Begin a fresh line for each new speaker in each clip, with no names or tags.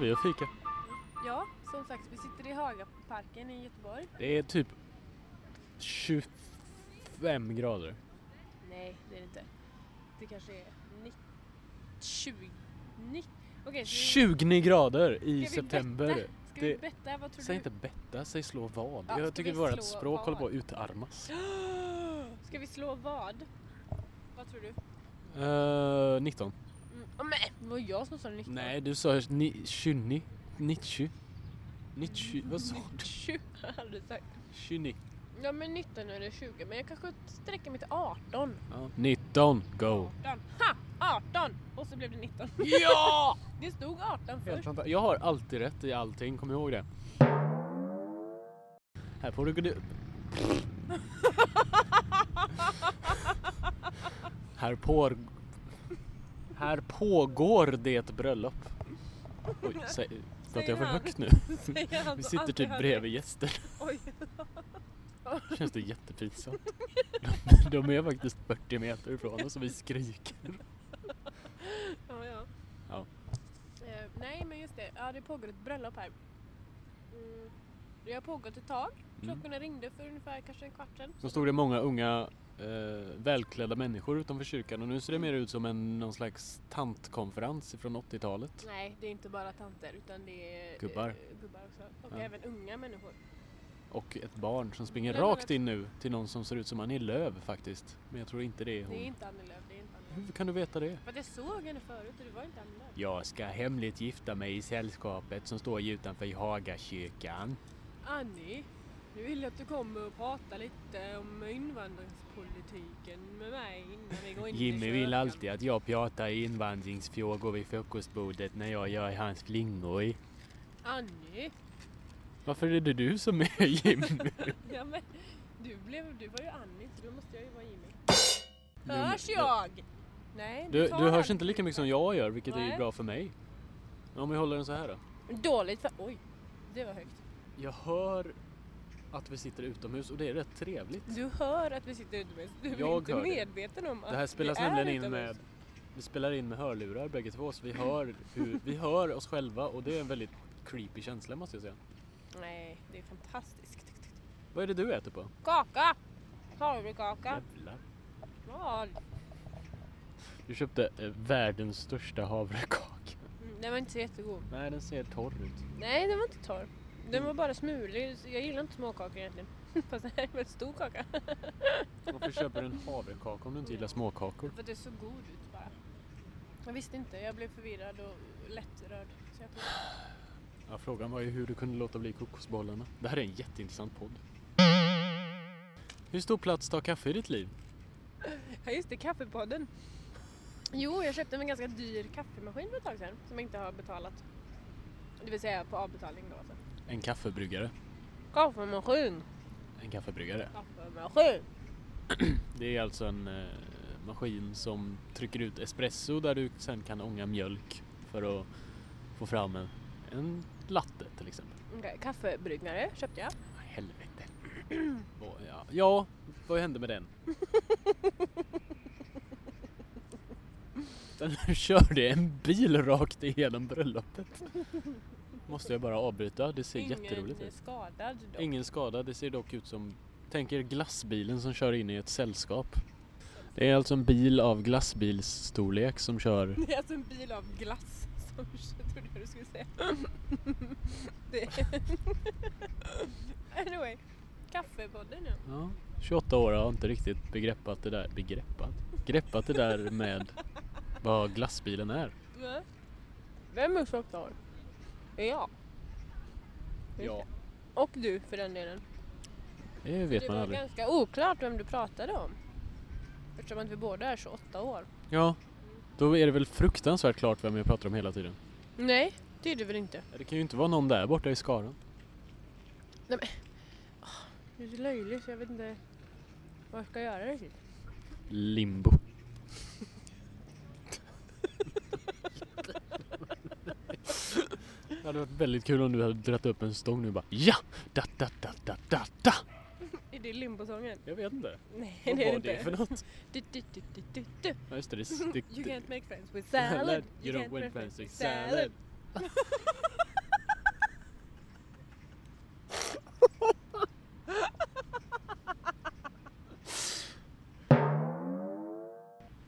vi och fika.
Ja, som sagt, vi sitter i Hagaparken i Göteborg.
Det är typ 25 grader.
Nej, det är det inte. Det kanske är 90... 20... 90... Okej, så
20 grader
vi-
i
ska vi
september.
betta? Ska vi
Det,
betta? Vad tror
säg
du?
inte betta, säg slå vad.
Ja, ska
Jag tycker
vi
vårt
slå
språk håller på att
vad?
utarmas.
Ska vi slå vad? Vad tror du?
Eh, 19.
Mm. åh, nej, det var jag som sa 19.
Nej, du sa ni- 20. 90. 90. Vad sa du?
20 hade du sagt.
20.
Ja men 19 eller 20 men jag kanske sträcker mig till 18.
Ja. 19. Go!
18. Ha! 18! Och så blev det 19.
Ja!
Det stod 18 först.
Jag har alltid rätt i allting, kom ihåg det. Här får du gå du- Här på... Här pågår det bröllop. Oj, säg... Pratar jag för
Säger han.
högt nu?
Säger han
Vi
som
sitter
alltid
typ
har
bredvid
rätt.
gäster.
Oj.
Känns det jättepinsamt. De, de är faktiskt 40 meter ifrån oss och vi skriker.
Ja, ja.
Ja.
Eh, nej men just det, ja, det pågår ett bröllop här. Mm. Det har pågått ett tag.
Mm.
Klockorna ringde för ungefär kanske en kvart sedan.
Så stod det många unga eh, välklädda människor utanför kyrkan och nu ser det mer ut som en, någon slags tantkonferens från 80-talet.
Nej, det är inte bara tanter utan det är eh,
Gubbar.
gubbar också. Och
Ja.
även unga människor.
Och ett barn som springer
Bland annat-
rakt in nu till någon som ser ut som Annie Lööf faktiskt. Men jag tror inte det är
Det är
hon.
inte Annie Lööf, det är inte Annie Lööf.
Hur kan du veta det?
För att jag såg henne förut och det var inte Annie Lööf.
Jag ska hemligt gifta mig i sällskapet som står utanför Hagakyrkan.
Annie, nu vill jag att du kommer och pratar lite om invandringspolitiken med mig innan vi går in i
Jimmy vill
kyrkan.
alltid att jag pratar invandringsfrågor vid frukostbordet när jag gör hans flingor.
Annie!
Varför är det du som är Jimmy?
Ja, men, du, blev, du var ju Annie så då måste jag ju vara Jimmy.
Nu-
Hörs jag? Nej,
Du,
tar
du hörs
den.
inte lika mycket som jag gör, vilket är
Nej.
ju bra för mig. Men om vi håller den så här då.
Dåligt för... Oj, det var högt.
Jag hör att vi sitter utomhus och det är rätt trevligt.
Du hör att vi sitter utomhus. Du är
Jag
inte
hör det.
medveten om att
Det här spelas
vi är
nämligen in
utomhus.
med... Vi spelar in med hörlurar bägge två så vi hör, hur, vi hör oss själva och det är en väldigt creepy känsla måste jag säga.
Nej, det är fantastiskt.
Vad är det du äter på?
Kaka! Havrekaka.
Jävlar.
Ja,
Du köpte eh, världens största havrekaka.
Mm, Den var inte så jättegod.
Nej, den ser torr ut.
Nej, den var inte torr. Den var bara smulig. Jag gillar inte småkakor egentligen. Fast det här var en stor kaka.
Varför köper du en havrekaka om du inte gillar småkakor?
För att det såg god ut bara. Jag visste inte. Jag blev förvirrad och lättrörd. Så jag tog...
Ja, frågan var ju hur du kunde låta bli kokosbollarna. Det här är en jätteintressant podd. Hur stor plats tar kaffe i ditt liv?
Ja, just det. Kaffepodden. Jo, jag köpte en ganska dyr kaffemaskin för ett tag sedan. Som jag inte har betalat. Det vill säga på avbetalning då alltså.
En kaffebryggare.
Kaffemaskin!
En kaffebryggare.
Kaffemaskin!
Det är alltså en eh, maskin som trycker ut espresso där du sen kan ånga mjölk för att få fram en, en latte till exempel.
Okej, kaffebryggare köpte jag.
Ah, helvete. Vad- ja, ja, vad hände med den? Den körde en bil rakt igenom bröllopet. Måste jag bara avbryta, det ser jätteroligt
Ingen
ut.
skadad dock.
Ingen skada, det ser dock ut som, tänk er glassbilen som kör in i ett sällskap. Det är alltså en bil av glassbilsstorlek som kör,
Det är alltså en bil av glass som jag trodde jag du skulle säga. Det anyway, kaffepodden ja.
ja, 28 år har inte riktigt begreppat det där, begreppat? Greppat det där med vad glassbilen är.
Va? Vem är 28 år? Är jag. Just
Ja,
det. Och du för den delen.
det vet
det
man
var
aldrig.
ganska oklart vem du pratade om. Eftersom att vi båda är 28 år.
Ja, då är det väl fruktansvärt klart vem jag pratar om hela tiden.
Nej, det är du väl inte?
Det kan ju inte vara någon där borta i Skaran.
Du är så löjlig så jag vet inte vad jag ska göra riktigt.
Limbo. Det hade varit väldigt kul om du hade dratt upp en stång nu och bara ja! Da, da, da, da, da, da.
Är det limbosången?
Jag vet inte.
Nej,
Vad
det är
var det för
inte.
något?
Du, du, du, du, du, du.
Ja just det, det, det,
You
det
can't make friends with
Salad.
salad.
You don't
can't
win
make
friends with salad.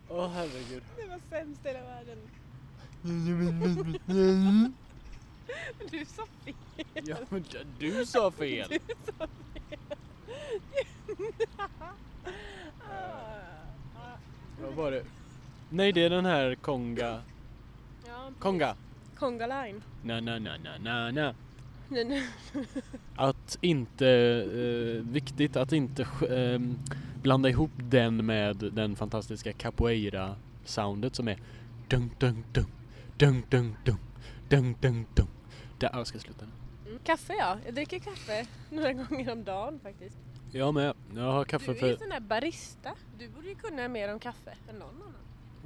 herregud.
Det var sämst i hela världen. Du sa fel.
Ja, men du sa fel!
Du sa fel. Ah.
Vad var det? Nej, det är den här Konga.
Ja, precis.
Konga!
Konga Line.
Na, na, na, na, na, na.
Nej, nej.
Att inte, eh, viktigt att inte sk- ehm, blanda ihop den med den fantastiska capoeira soundet som är dung dung dung dung dung dung dung dung dung. Där, jag ska sluta nu.
Mm. Kaffe ja, jag dricker kaffe några gånger om dagen faktiskt.
Jag med, jag har kaffe
du är ju
för...
sån där barista. Du borde ju kunna mer om kaffe än någon annan.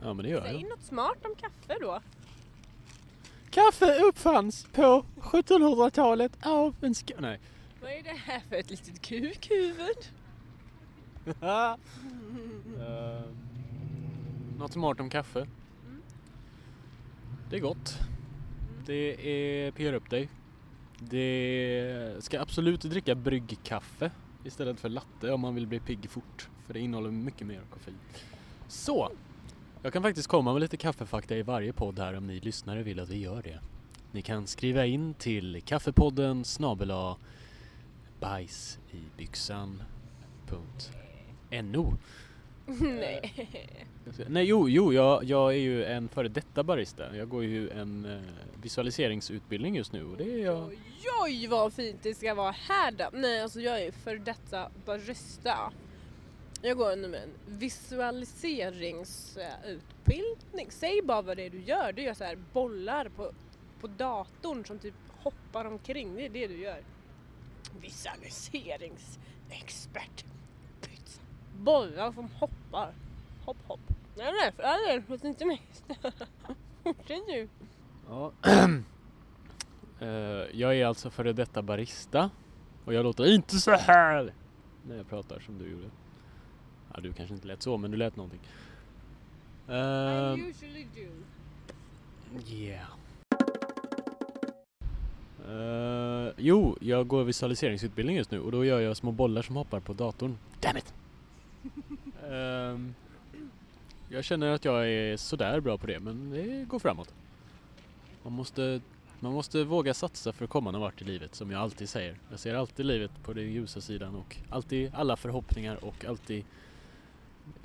Ja men det gör
Säg
jag.
något smart om kaffe då.
Kaffe uppfanns på 1700-talet av en sk... Nej.
Vad är det här för ett litet kukhuvud?
Eh, Något smart om kaffe. Det är gott. Det är pyr upp dig. Det ska absolut dricka bryggkaffe istället för latte om man vill bli pigg fort. För det innehåller mycket mer koffein. Så! Jag kan faktiskt komma med lite kaffefakta i varje podd här om ni lyssnare vill att vi gör det. Ni kan skriva in till kaffepodden snabela bajsibyxan.no Eh.
Nej.
Nej, jo, jo jag, jag är ju en före detta barista. Jag går ju en eh, visualiseringsutbildning just nu och det är jag.
Oj, oj vad fint det ska vara här då. Nej alltså jag är ju för detta barista. Jag går nu med en visualiseringsutbildning. Säg bara vad det är du gör. Du gör så här bollar på, på datorn som typ hoppar omkring. Det är det du gör. Visualiseringsexpert. Pyts. Bollar som hoppar. Hopp hopp. Nej nej, för all del, låt inte mig störa. Fortsätt du.
Ja. Eh, jag är alltså före detta barista och jag låter inte så här när jag pratar som du gjorde. Ja, du kanske inte lät så, men du lät någonting. Eh,
usually do.
Yeah. Eh, jo, jag går visualiseringsutbildning just nu och då gör jag små bollar som hoppar på datorn. Damn it! Ehm, jag känner att jag är sådär bra på det, men det går framåt. Man måste, man måste våga satsa för att komma någon vart i livet, som jag alltid säger. Jag ser alltid livet på den ljusa sidan och alltid alla förhoppningar och alltid...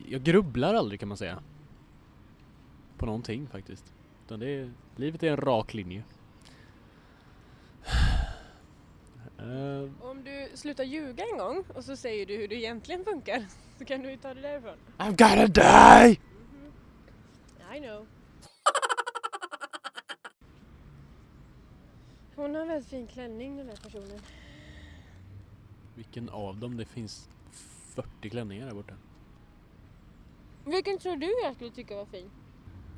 Jag grubblar aldrig kan man säga. På någonting faktiskt. Utan det är, livet är en rak linje. Eh,
Om du slutar ljuga en gång och så säger du hur det egentligen funkar så kan du ju ta det därifrån.
I'm gonna die!
I know. Hon har en väldigt fin klänning den här personen.
Vilken av dem? Det finns 40 klänningar där borta.
Vilken tror du jag skulle tycka var fin?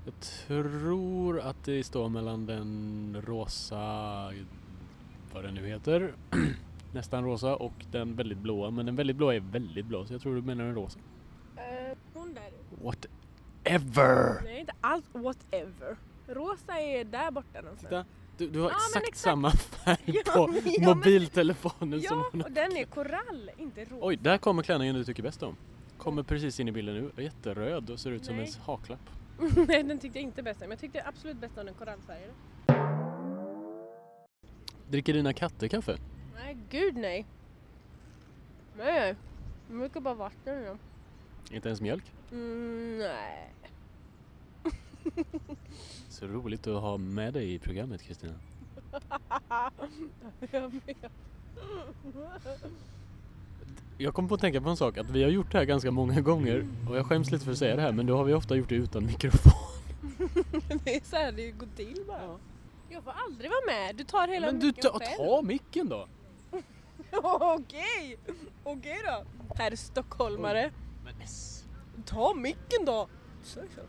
Jag tror att det står mellan den rosa, vad den nu heter, nästan rosa och den väldigt blåa. Men den väldigt blåa är väldigt blå så jag tror du menar den rosa.
Eh, hon där.
Whatever!
Nej inte alls whatever. Rosa är där borta någonstans.
Titta, du, du har
Ja, men
exakt,
exakt.
samma färg
Ja,
på
men- ja, men-
mobiltelefonen som
Ja,
hon
och den är korall, inte rosa.
Oj, där kommer klänningen du tycker bäst om. Kommer precis in i bilden nu. Jätteröd och ser ut som
Nej.
en haklapp.
Nej, den tyckte jag inte bäst om. Jag tyckte absolut bäst om den korallfärgade.
Dricker dina katter kaffe?
Nej, gud nej. Nej, de brukar bara vatten i dem.
Inte ens mjölk?
Mm, nej.
Så roligt att ha med dig i programmet Kristina.
jag vet.
Jag kom på att tänka på en sak, att vi har gjort det här ganska många gånger och jag skäms lite för att säga det här men då har vi ofta gjort det utan mikrofon.
Det är så här det går till bara. Jag får aldrig vara med. Du tar hela
Men du,
micken
ta,
själv.
ta micken då!
Okej, okej då. Herr stockholmare.
Men s-
Ta micken då. Så, så.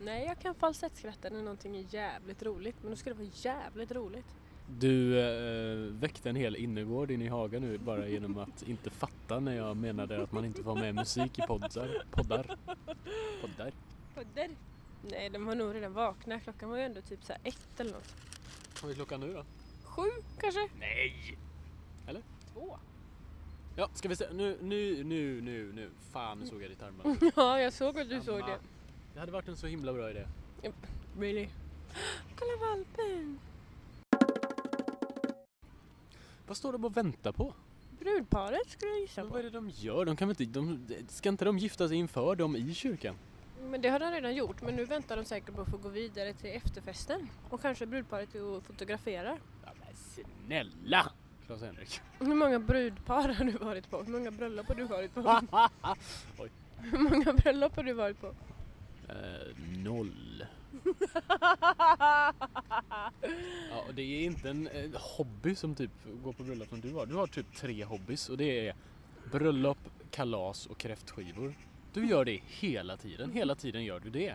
Nej, jag kan falsettskratta när någonting är jävligt roligt. Men då ska det vara jävligt roligt.
Du eh, väckte en hel innergård inne i Haga nu bara genom att inte fatta när jag menade att man inte får ha med musik i poddar. Poddar. Poddar.
Poddar. Nej, de var nog redan vakna. Klockan var ju ändå typ så här ett eller något.
Vad är klockan nu då?
Sju kanske?
Nej!
Två.
Ja, ska vi se. Nu, nu, nu, nu, nu. Fan, nu såg jag ditt armband.
Ja, jag såg att du såg
Mamma.
det.
Det hade varit en så himla bra idé.
Really? Kolla valpen!
Vad står de och väntar på?
Brudparet skulle jag gissa
Men vad är
på.
det de gör? De kan väl inte, de, ska inte de gifta sig inför dem i kyrkan?
Men det har de redan gjort, men nu väntar de säkert på att få gå vidare till efterfesten. Och kanske brudparet är och fotograferar.
Ja, men snälla! Claes-Henrik.
Hur många brudpar har du varit på? Hur många bröllop har du varit på?
Oj.
Hur många bröllop har du varit på?
Eh, noll. Ja, och det är inte en eh, hobby som typ går på bröllop som du har. Du har typ tre hobbys och det är bröllop, kalas och kräftskivor. Du gör det hela tiden. Hela tiden gör du det.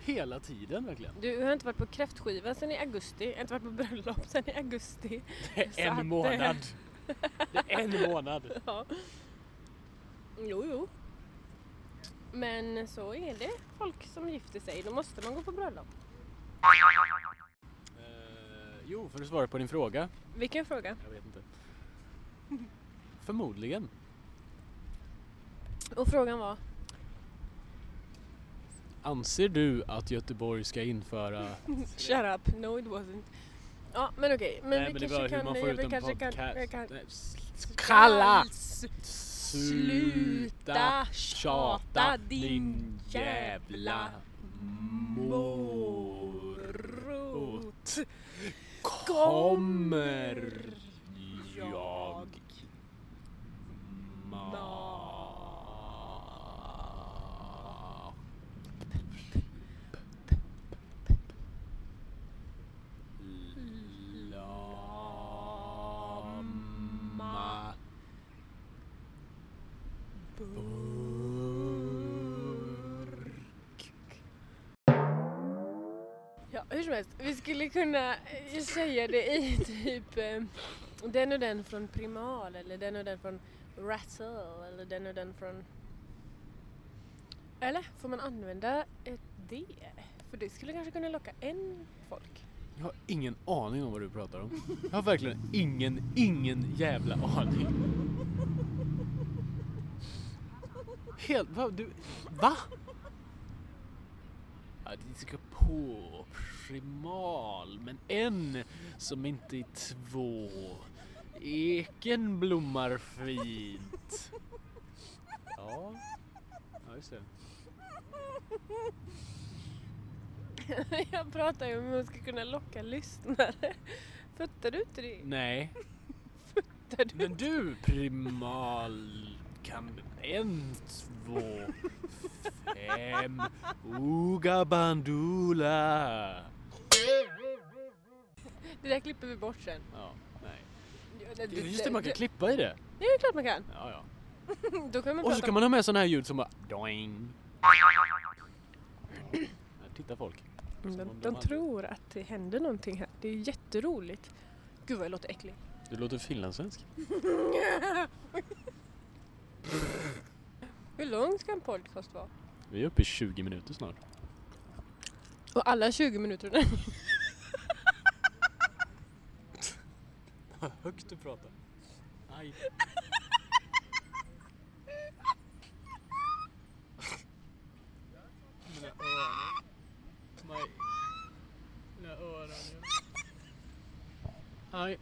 Hela tiden verkligen.
Du har inte varit på kräftskiva sedan i augusti, jag har inte varit på bröllop sedan i augusti. Så att det-
En månad. Det är en månad.
Ja. Jo, jo. Men så är det folk som gifter sig, då måste man gå på bröllop.
Eh, jo, för att svara på din fråga.
Vilken fråga?
Jag vet inte. Förmodligen.
Och frågan var?
Anser du att Göteborg ska införa...
Shut up, no it wasn't. Ja, men okej. Men vi kanske kan... vi kanske kan- vi kan-
Nej, s- Kalla!
Alls.
Sluta tjata din jävla morot.
morot.
Kommer jag ma... Lama... Burk.
Ja, hur som helst. Vi skulle kunna eh, säga det i typ eh, den och den från Primal eller den och den från Rattle eller den och den från... Eller? Får man använda ett D? För det skulle kanske kunna locka en folk.
Jag har ingen aning om vad du pratar om. Jag har verkligen ingen, ingen jävla aning. Helt, vad, du, va? Ja, det ska på primal, men en som inte är två. Eken blommar fint. Ja, ja just det.
Jag pratar ju om hur man ska kunna locka lyssnare. Fattar du inte det?
Nej,
Fattar du?
Men du primal kan en, två, fem, Ooga Bandoola.
Det där klipper vi bort sen.
Ja, nej.
Ja, det-
Det- Just det, man kan klippa i det.
Ja, det är klart man kan.
Ja, ja.
Då kan man
Och
prata
så kan man ha med sådana här ljud som bara doing. Här tittar folk.
Mm,
Som
De,
om
de
hade-
tror att det händer någonting här. Det är jätteroligt. Gud vad jag låter äcklig.
Du låter finlandssvensk.
Hur lång ska en podcast vara?
Vi är uppe i 20 minuter snart.
Och alla 20 minuter.
Högt du pratar. Aj. Mina öron. My... Mina öron. ja. Aj.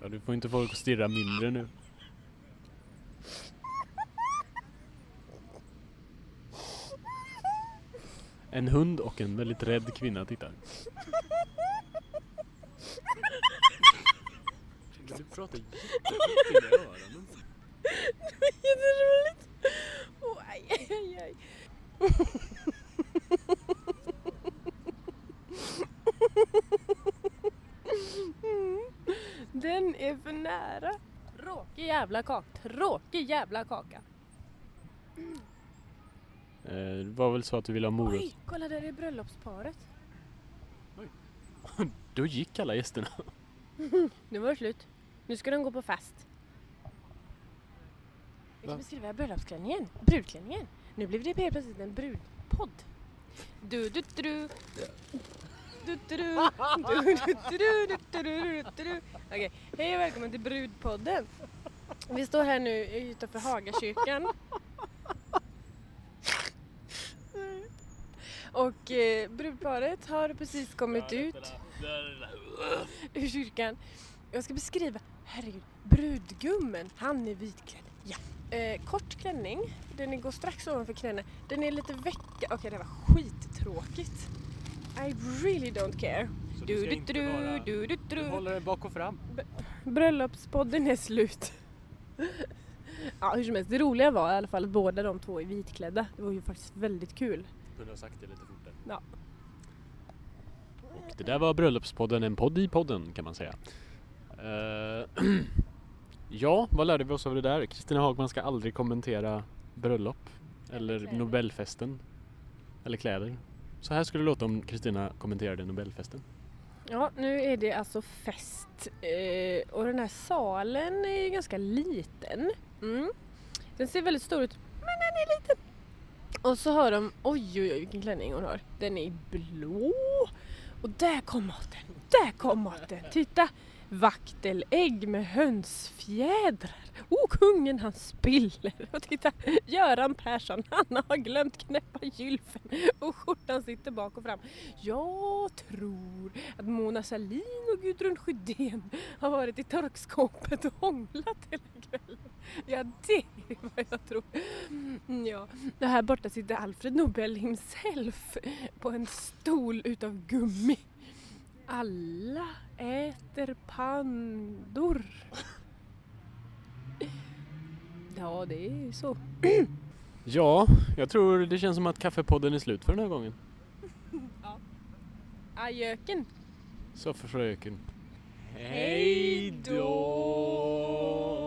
Ja, du får inte folk att stirra mindre nu. En hund och en väldigt rädd kvinna tittar. Du pratar jättehögt i öronen.
Jätteroligt! Oh, aj, aj, aj. Mm. Den är för nära. Tråkig jävla kaka. Tråkig jävla kaka.
Eh, Det var väl så att du ville ha morot?
Oj, kolla där är bröllopsparet.
Då gick alla gästerna.
Nu var det slut. Nu ska de gå på fest. Vi
Va?
kan beskriva bröllopsklänningen, brudklänningen. Nu blev det helt plötsligt en brudpodd. Du, du, du, du. Du, du, du. Du, du, du, du, du, du, du, du, du, du. Okej, hej och välkommen till brudpodden. Vi står här nu utanför Hagakyrkan. Och eh, brudparet har precis kommit ut ur kyrkan. Jag ska beskriva, herregud, brudgummen, han är vitklädd. Ja. Eh, kort klänning, den går strax ovanför knäna. Den är lite vecka, okej det här var skittråkigt. I really don't care.
Så
Du,
du ska
du,
inte vara...
du, du, du,
Du
du.
håller den bak och fram.
Bröllopspodden är slut. ja, hur som helst, det roliga var i alla fall att båda de två är vitklädda. Det var ju faktiskt väldigt kul.
Kunde ha sagt det lite fortare.
Ja.
Och det där var Bröllopspodden, en podd i podden kan man säga. Eh, ja, vad lärde vi oss av det där? Kristina Hagman ska aldrig kommentera bröllop
Eller
eller
kläder.
Nobelfesten. Eller kläder. Så här skulle det låta om Kristina kommenterade Nobelfesten.
Ja, nu är det alltså fest eh, och den här salen är ju ganska liten. Mm. Den ser väldigt stor ut, men den är liten. Och så har de, oj oj oj vilken klänning hon har. Den är blå. Och där kom maten, där kom maten. Titta! Vaktelägg med hönsfjädrar. Oh, kungen han spiller. Och titta, Göran Persson, han har glömt knäppa gylfen och skjortan sitter bak och fram. Jag tror att Mona Sahlin och Gudrun Schyden har varit i torkskåpet och hånglat hela kvällen. Ja, det är vad jag tror. Mm, Ja. Och här borta sitter Alfred Nobel himself på en stol utav gummi. Alla äter pandor. Ja, det är ju så.
Ja, jag tror det känns som att kaffepodden är slut för den här gången.
Ajöken.
Så för fröken.
Hej då!